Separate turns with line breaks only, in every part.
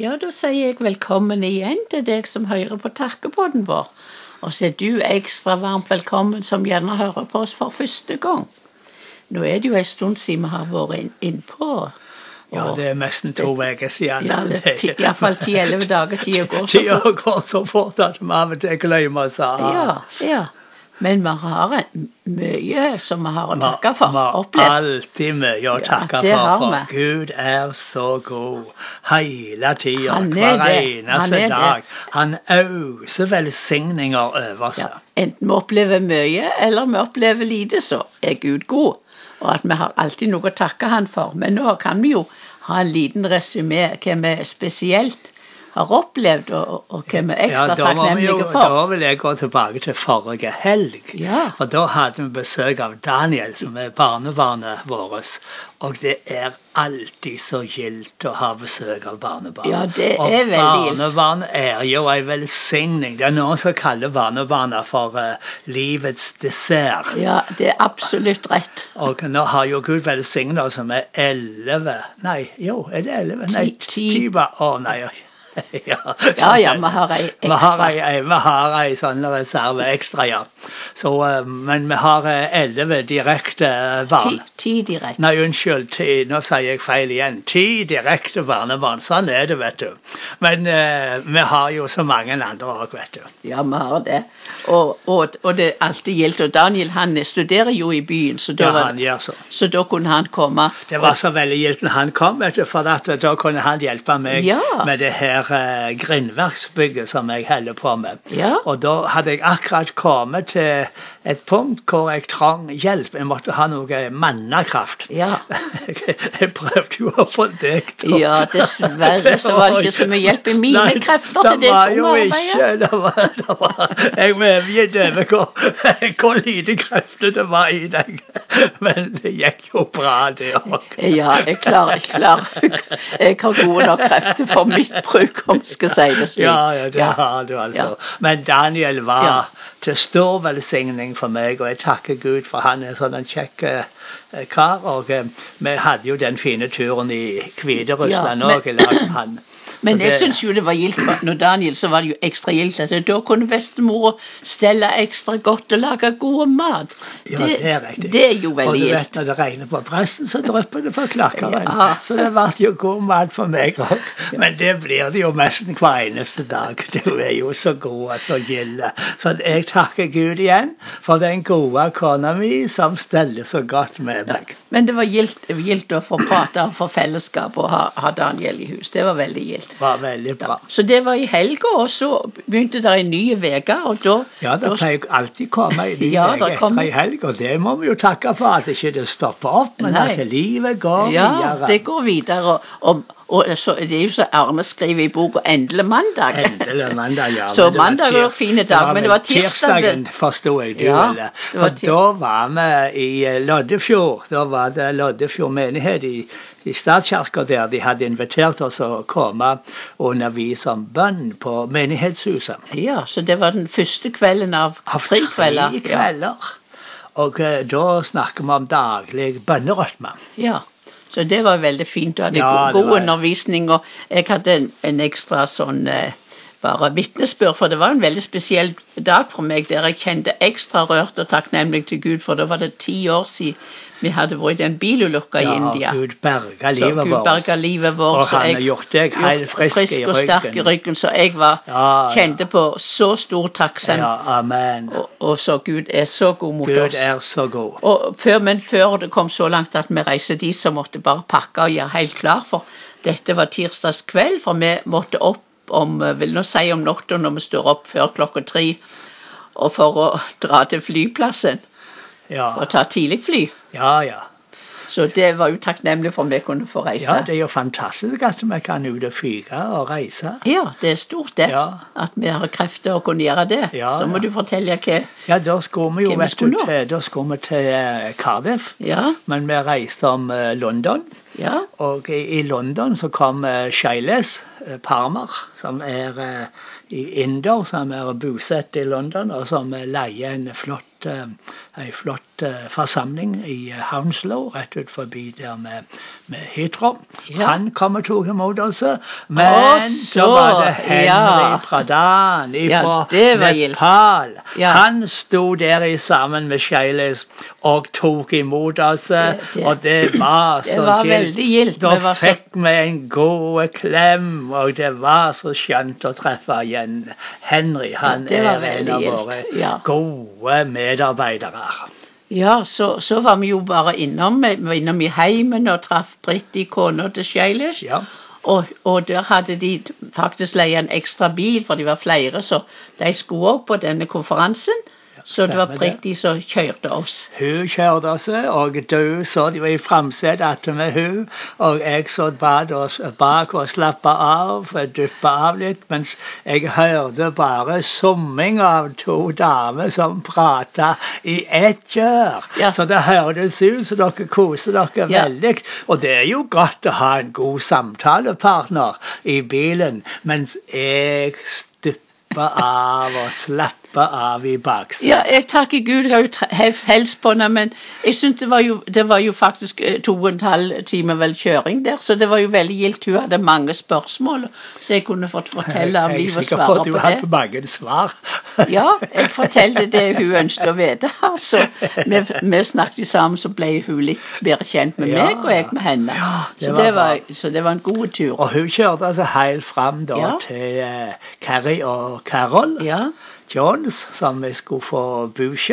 Ja, da sier jeg velkommen igjen til deg som hører på takkepodden vår. Og så er du ekstra varmt velkommen som gjerne hører på oss for første gang. Nå er det jo en stund siden vi har vært inn- innpå.
Ja,
og-
det er nesten to uker siden.
ja, det- ti- i hvert fall 10-11 dager. Tida går så
Tida går så fort at vi av og til glemmer oss av.
Ja, ja. Men vi har en- mye som vi har å takke for.
Vi har
Opplevd.
alltid mye
Ja,
å takke
det har
for, for
vi.
Gud er så god hele tida,
Han er
hver
det. Han er
eneste
det.
dag. Han øser velsigninger over oss.
Ja. Enten vi opplever mye eller vi opplever lite, så er Gud god. Og at vi har alltid noe å takke Han for. Men nå kan vi jo ha en liten resymé hva vi spesielt har opplevd, og, og hva vi er ekstra
da var vi jo-
takknemlige
Da
for.
vil jeg gå tilbake til forrige helg.
Ja.
For da hadde vi besøk av Daniel, som er barnebarnet vårt. Og det er alltid så gildt å ha besøk av barnebarn.
Ja, det
og
er veldig gildt.
barnebarn er jo en velsigning. Det er noen som kaller barnebarna for eh, livets dessert.
Ja, det er absolutt rett.
Og nå har jo Gud velsignet oss med elleve Nei, jo, er det elleve? Nei,
Ti- ti.
ti ba- Å, nei. oi. Ja,
Ja, ja,
sånn.
vi har ei
Vi har
ekstra.
ei, ei- vi har ei sånn reserve ekstra, ja. Så, eh, men vi har eh, elleve direkte eh,
Ti,
barn.
ti direkte.
Nei, unnskyld, ti, nå sier jeg feil igjen. Ti direkte barnebarn. Sånn er det, vet du. Men eh, vi har jo så mange andre òg, vet du.
Ja, vi har det. Og, og, og det er alltid gildt. Og Daniel han studerer jo i byen, så da,
Ja,
var-
han gjør så.
så da kunne han komme.
Det var så veldig gildt når han kom, vet du, for at da kunne han hjelpe meg
Ja.
med det her eh, grindverksbygget som jeg holder på med.
Ja.
Og da hadde jeg akkurat kommet til et punkt hvor jeg trang hjelp. Jeg måtte ha noe mannekraft.
Ja.
Jeg, prøvde jo å få deg til å-
Ja, dessverre så var det ikke så mye hjelp i mine
Nei,
krefter til det
Det var jo
tungearbeidet.
ikke det var, det var, Jeg medgir det med hvor, hvor lite krefter det var i deg. Men det gikk jo bra, det òg.
Ja, jeg klarer, jeg klarer. Jeg har gode nok krefter for mitt bruk, om jeg skal si det slik.
Ja, ja, det har du altså.
Ja.
Men Daniel var
Ja.
til stor velsigning for meg, og jeg takker Gud for han er sånn en kjekk eh, kar. Og eh, vi hadde jo den fine turen i Hviterussland
Ja, men-
òg i lag med han. Så
Men jeg
det-
syns jo det var gildt for- når Daniel så var det jo ekstra gildt at da kunne bestemora stelle ekstra godt og lage god mat.
ja, det, er riktig.
det er jo
og
veldig
du
gildt.
vet, når det regner på pressen, så drypper det fra klakkeren.
Ja.
Så det ble jo god mat for meg òg. Men det blir det jo nesten hver eneste dag. Du er jo så god og så gild. Så jeg takker Gud igjen for den gode kona mi som steller så godt med meg.
Men det var gildt, gildt å få prate og få fellesskap og ha, ha Daniel i hus. Det var veldig gildt.
Det var veldig bra.
Så det var i helga, og så begynte det en ny uke, og da
Ja, det
da-
pleier jo alltid å komme en ny
Ja,
uke
det kom-
etter ei helg, og det må vi jo takke for at ikke det stopper opp, men
Nei.
at livet går
Ja,
videre.
det går videre. Og, og, og så, det er jo så Arne skriver i boka 'Endelig mandag'.
Endelig mandag, ja.
Så
men det var
mandag var
tir-
en fin dag, men det
vel
var tirsdag det-
Tirsdagen forsto jeg du
Ja,
ville.
det var
For
tirs-
da var vi i eh, Loddefjord. Da var det Loddefjord menighet i, i statskirka der. De hadde invitert oss å komme og undervise om bønn på menighetshuset.
Ja, så det var den første kvelden av
Av
tre kvelder.
Tre
Ja.
kvelder. Og eh, da snakker vi om daglig bønnerøtme.
ja. Så det var veldig fint. Du hadde
Ja,
god,
det
god
var-
undervisning, og jeg hadde en, en ekstra sånn eh, bare vitnesbyrd, for det var en veldig spesiell dag for meg der jeg kjente ekstra rørt og takknemlig til Gud, for da var det ti år siden vi hadde vært i en bilulykke i India.
Gud berga
Så
livet
Gud berga
vårt.
livet vårt.
Og
så
han
jeg-
har gjort deg helt
gjort
frisk i
og sterk i
ryggen.
ryggen, så jeg var,
Ja, ja.
kjente på så stor takksemd.
Ja, amen.
Og, og så Gud er så god mot
Gud
oss.
er så god.
Og før, men før det kom så langt at vi reiste dit, så måtte vi bare pakke og gjøre helt klar, for dette var tirsdags kveld, for vi måtte opp om, eh, vil nå si om natta når vi står opp før klokka tre, og for å dra til flyplassen
Ja,
og ta tidlig fly.
ja. ja.
Så det var jo takknemlig for at vi kunne få reise.
Ja, det er jo fantastisk at vi kan ut og fyke og reise.
Ja, det er stort det.
Ja.
At vi har krefter å kunne gjøre det.
Ja,
så må
ja.
du fortelle hva
Ja, da skulle vi jo
Hvem
vet
skulle
du,
nå?
til, da skulle vi til eh, Cardiff,
Ja,
men vi reiste om eh, London.
Ja.
Og i, i London så kom eh, Shailes eh, Parmer, som er eh, i inder, som er bosatt i London, og som eh, leier en flott, eh, en flott eh, forsamling i eh, Hounslow, rett ut forbi der med, med Hydro.
Ja.
Han kom og tok imot oss, men
Å,
så,
så,
var det Henry
ja.
Pradhan ifra
det var gildt.
Nepal.
Ja.
Han sto der i sammen med Shailes og tok imot oss,
Det- det-
og det var
Det
så
var
gildt.
veldig gildt.
Da
Vi var så-
fikk vi en god klem, og det var så skjønt å treffe igjen. Henry han
det var
er en
veldig
av
gildt,
våre
ja.
gode medarbeidere.
Ja, så, så var vi jo bare innom, vi var innom i heimen og traff Britt i kona til Shailesh.
Ja.
Og, og der hadde de faktisk leid en ekstra bil, for de var flere, så de skulle opp på denne konferansen. så det var
stemmer det.
Britt de som kjørte oss.
Hun kjørte oss, og du så de var i framsetet attmed hun, og jeg så bad og, bak og slappa av, duppa av litt, mens jeg hørte bare summing av to damer som prata i ett kjør.
Ja.
Så det høres ut som dere koser dere
Ja.
veldig. Og det er jo godt å ha en god samtalepartner i bilen, mens jeg stuppa av og slappa av i baksetet.
Ja, jeg takker Gud, jeg har jo tre- hef- helst på den, men jeg synes det var jo, det var jo faktisk eh, to og en halv time vel kjøring der, så det var jo veldig gildt. Hun hadde mange spørsmål, så jeg kunne fått fortelle om
Jeg er
livet og
sikker på
svare
at du
på
hadde
det.
mange svar.
Ja, jeg fortalte det hun ønsket å vite. Så vi, vi snakket sammen, så ble hun litt bedre kjent med
Ja.
meg, og jeg med henne.
Ja, det
så,
var
det var, så det var en god tur.
Og hun kjørte altså helt fram da
Ja.
til eh, Carrie og Carol
Ja,
Jones, som vi skulle få bo hos.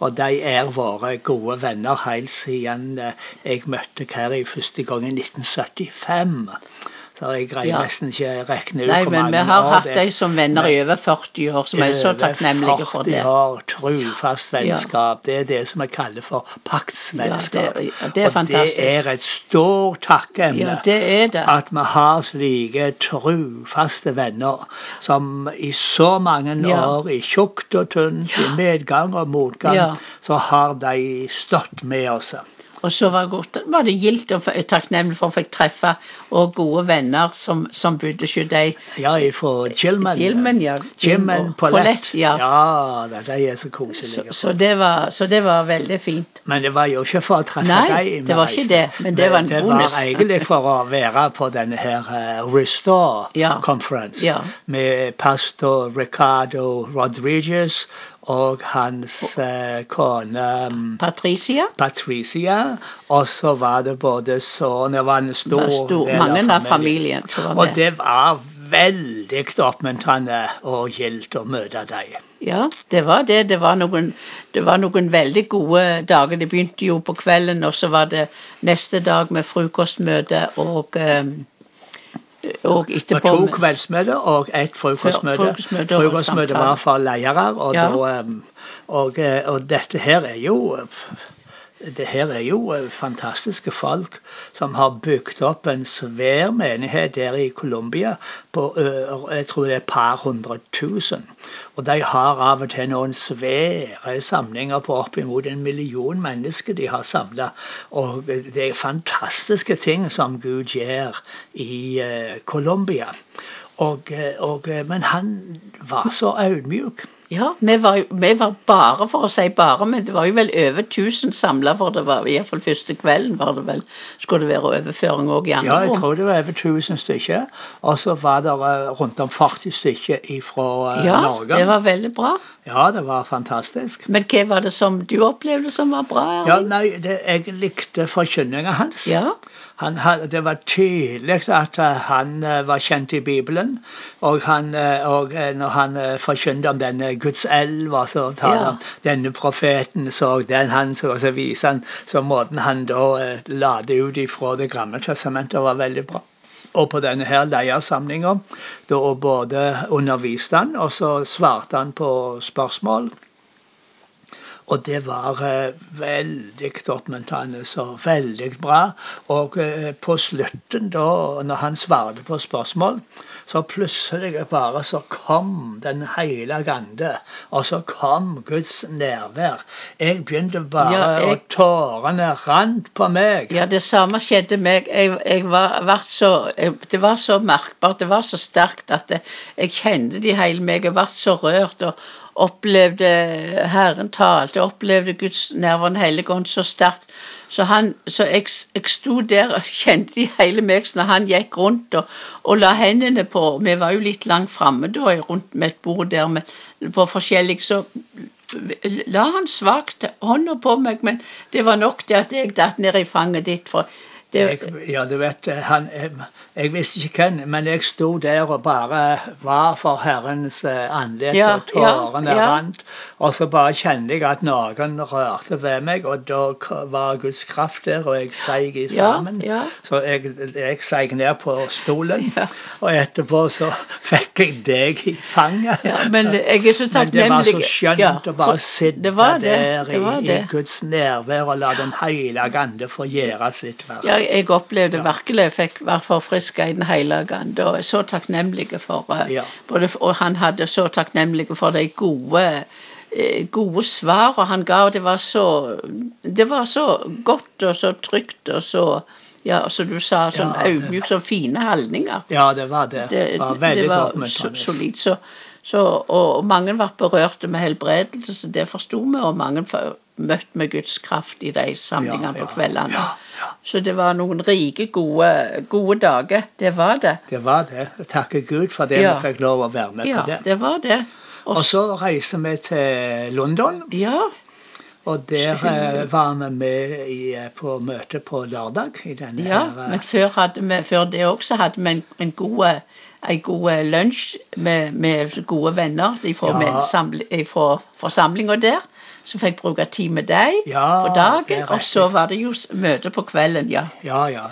Og de er våre gode venner helt siden eh, jeg møtte Carrie første gang i 1975. Så jeg greier
Ja.
nesten ikke regne ut
Nei,
hvor
men
mange
vi har
år
hatt
det
deg som venner i over 40 år, som jeg er så
Over
takknemlige for det.
40 år trofast vennskap. Det er det som vi kaller for paktsvennskap.
Ja, det- ja, det er
og
fantastisk.
det er et stort takkeemne.
Ja, det er det.
At vi har slike trofaste venner som i så mange
Ja.
år, i tjukt og tynt, i medgang og motgang,
Ja.
så har de stått med oss.
Og så var, godt, var det gildt og takknemlig for å fikk treffe og gode venner som, som bodde hos deg.
Ja, fra Gilman.
Gilman, ja.
Gilman
Og
Paulette.
Paulette, ja.
ja da, de er så
Så,
koselige.
så, det var, så det var veldig fint.
Men det var jo ikke for å treffe
Nei,
deg.
det var ikke det, men det var en bonus.
var egentlig for å være på denne her eh, Restore
Ja.
Conference
Ja.
med pastor Ricardo Rodriguez og hans eh, kone mm,
Patricia?
Patricia, og så var det både sønn Det var en
Det
stor,
var stor,
del
mange av familien som var
Og
med.
det var veldig oppmuntrende og gildt å møte dem.
Ja, det var det. Det var, noen, det var noen veldig gode dager. Det begynte jo på kvelden, og så var det neste dag med frokostmøte og eh, og
Det var
etterpå
to
med-
kveldsmøter og ett frokostmøte.
Fro- frokostmøte og
Frokostmøtet
samtale.
var for ledere, og,
Ja.
da, um, og, eh, og dette her er jo eh, det her er jo eh, fantastiske folk som har bygd opp en svær menighet der i Colombia på eh, jeg tror det er et par hundre tusen. Og de har av og til noen svære samlinger på oppimot en million mennesker de har samla. Og det er fantastiske ting som Gud gjør i eh, Colombia. Og, eh, og, eh, men han var så audmjuk.
Ja, vi var, jo- vi var bare, for å si bare, men det var jo vel over 1000 samla, for det var iallfall første kvelden var det vel, skulle det være overføring òg i
Ja,
andre
jeg
rom.
tror det var over 1000 stykker. Og så var det eh, rundt om 40 stykker fra
Ja,
Norge.
det var veldig bra.
Ja, det var fantastisk.
Men hva var det som du opplevde som var bra?
Ja,
Erling?
nei, det, jeg likte forkynninga hans.
ja,
Han, had- det var tydelig at eh, han eh, var kjent i Bibelen. Og, han, eh, og eh, når han eh, forkynte om denne Guds elv, og så tar
Ja.
han denne profeten, så den han, så, og så viser han så måten han da eh, la det ut ifra Det gamle testamentet, var veldig bra. Og på denne her leiersamlinga, da både underviste han, og så svarte han på spørsmål. Og det var eh, veldig oppmuntrende og veldig bra. Og eh, på slutten, da, når han svarte på spørsmål, så plutselig bare så kom den hele gande. Og så kom Guds nærvær. Jeg begynte bare,
Ja, jeg-
og tårene rant på meg.
Ja, det samme skjedde meg. Jeg, jeg var, vart så, jeg, det var så merkbart, det var så sterkt at jeg, jeg kjente det i hele meg. Jeg ble så rørt og opplevde Herren talte, jeg opplevde Guds nærvær og Den hellige ånd så sterkt. Så, han, så jeg, jeg sto der og kjente det i hele meg så når han gikk rundt og, og la hendene på Vi var jo litt langt framme da, rundt med et bord der men, på forskjellig, så la han svakt hånda på meg, men det var nok til at jeg datt ned i fanget ditt. For det,
Jeg, ja, du vet, han, jeg, jeg visste ikke hvem, men jeg sto der og bare var for Herrens eh, andlet,
Ja,
og tårene
ja, ja.
rant. Og så bare kjente jeg at noen rørte ved meg, og da k- var Guds kraft der, og jeg seig i
Ja,
sammen.
ja.
Så jeg, jeg seig ned på stolen,
Ja.
og etterpå så fikk jeg deg i fanget.
ja, men jeg er så
Men det
takknemlig
var så skjønt
Ja,
å bare
for-
sitte
det var det,
der
det var
i, i
det.
Guds nærvær og la Den hellige ande få gjøre sitt verk.
Ja, jeg opplevde virkelig jeg fikk være forfriska i Den hellige ande. Og er så takknemlig for eh,
Ja.
både, f- Og han hadde så takknemlig for de gode eh, gode svar og han ga, og det var så det var så godt og så trygt og så ja, og som du sa, sånn
Ja, det-
audmjukt og fine holdninger.
Ja, det var det. Det var veldig
det var
oppmuntrende.
so- solid. Så, så, og mange ble berørte med helbredelse, så det forsto vi, og mange f- møtte med Guds kraft i de samlingene
Ja, ja,
på kveldene.
ja, ja.
Så det var noen rike, gode, gode dager. Det var det.
Det var det. Jeg takker Gud for det
Ja.
vi fikk lov å være med
Ja,
på det.
det var det. Og
Og
s-
så reiser vi til London,
ja,
og der eh, var vi med i, eh, på møte på lørdag. i denne
ja,
her, eh,
men før, hadde vi, før det òg så hadde vi en, en god eh, en god eh, lunsj med, med gode venner
Ja.
fra forsamlinga der. Så fikk jeg bruke tid med dem
Ja,
på
Ah, det
dagen.
er
Og så var det jo s- møte på kvelden, ja.
Ja, ja.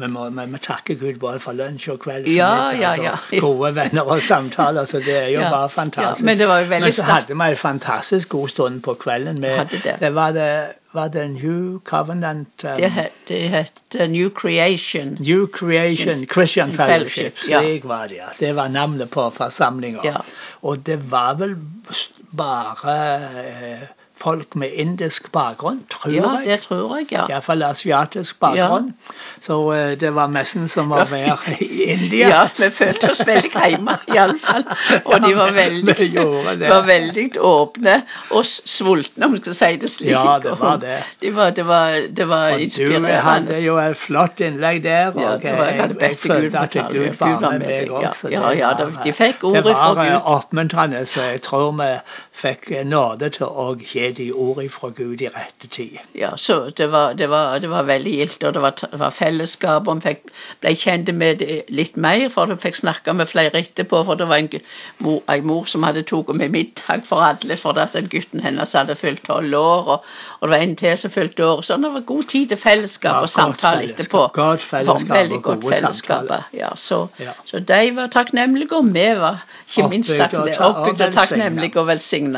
Vi må, men vi takker Gud både for lunsj og kvelds
Ja,
middag
ja, ja.
og gode venner og samtaler, så det er jo
Ja,
bare fantastisk.
ja, men det var jo veldig
Men så
sterkt.
hadde vi en fantastisk god stund på kvelden med
Hadde det.
var det, var det New Covenant um,
Det het, det het eh, New Creation.
New Creation Christian Fellowship.
Fellowship, ja.
Slik var det, ja. Det var navnet på forsamlinga.
Ja.
Og det var vel s- bare eh, folk med indisk bakgrunn, tror
Ja, det
jeg.
tror jeg, ja.
Iallfall asiatisk bakgrunn. Så eh, det var nesten som å være i India.
Ja, vi følte oss veldig hjemme, iallfall. Og de var
Ja, vi-
veldig,
vi gjorde det.
var veldig åpne og s- sultne, om vi skal si det slik.
Ja, det var
Og
det.
Det var, det var, det var
Og du hadde
inspirerende.
jo et flott innlegg der, og
Ja, det var- jeg
jeg,
hadde
jeg
bedt til Gud
følte at
fortale,
Gud
ja,
var med meg
ja.
også.
Ja, ja, da- de fikk ordet
det var
fra
eh,
Gud.
oppmuntrende, så jeg tror vi fikk nåde til å gi de ordet fra Gud i rette tid.
Ja, så det var, det var, det var veldig gildt, og det var, det var fellesskap, og vi fikk- ble kjent med det litt mer, for vi fikk snakke med flere etterpå, for det var en gu- mor, en mor som hadde tatt med middag for alle, for at den gutten hennes hadde fylt tolv år, og, og det var en til som fylte år, så det var god tid til fellesskap
Ja,
og
godt
samtale
fellesskap,
etterpå.
godt fellesskap
Det var veldig
og
godt
gode
fellesskap,
samtaler.
Ja, så,
Ja.
så de var takknemlige, og vi var ikke minst
Oppbygd og
takkne-
ta- og
oppbygd og
velsignet.
takknemlige og velsignet.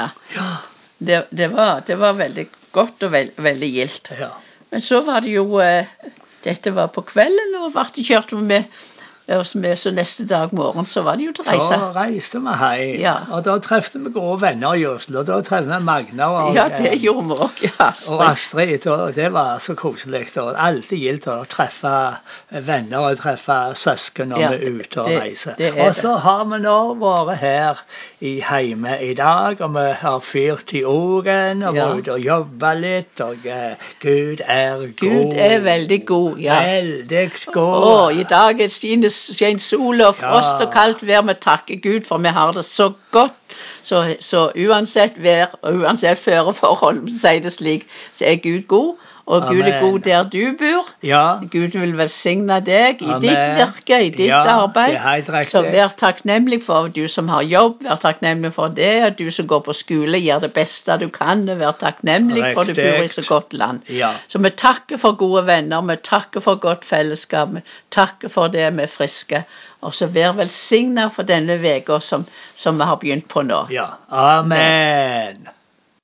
Det, det, var, det var veldig godt og vel- veldig gildt.
Ja.
Men så var det jo eh, Dette var på kvelden, og ble kjørt med eh, oss med, så neste dag morgen så var det jo til reise.
Så reiste vi hjem,
Ja.
og da trefte vi gode venner i Oslo. Da trefte vi Magna og,
Ja,
eh,
det gjorde vi òg. Ja,
og
Astrid.
Astrid. Og det var så koselig. Og alltid gildt å treffe venner og treffe søsken når
Ja,
vi er ute og
det-
reiser.
det er
Og så har vi nå vært her i hjemme i dag, og vi har fyrt i ågen og
Ja.
vært ute og jobba litt, og eh, Gud er god.
Gud er veldig god, ja.
Veldig
Å,
god.
i dag er det skinner skinner sol og frost
Ja.
og kaldt vær. Vi takker Gud, for vi har det så godt. Så, så uansett vær og uansett føreforhold, om vi sier det slik, så er Gud god. Og Gud er
Amen.
god der du bor.
Ja.
Gud vil velsigne deg i
Amen.
ditt virke, i ditt
Ja,
arbeid.
det er helt riktig.
så vær takknemlig for du som har jobb, vær takknemlig for det. Du som går på skole, gjør det beste du kan, og vær takknemlig for du bor i så
Riktig.
godt land.
Ja.
Så vi takker for gode venner, vi takker for godt fellesskap, vi takker for det vi er friske. Og så vær velsigna for denne uka som, som vi har begynt på nå.
ja. Amen.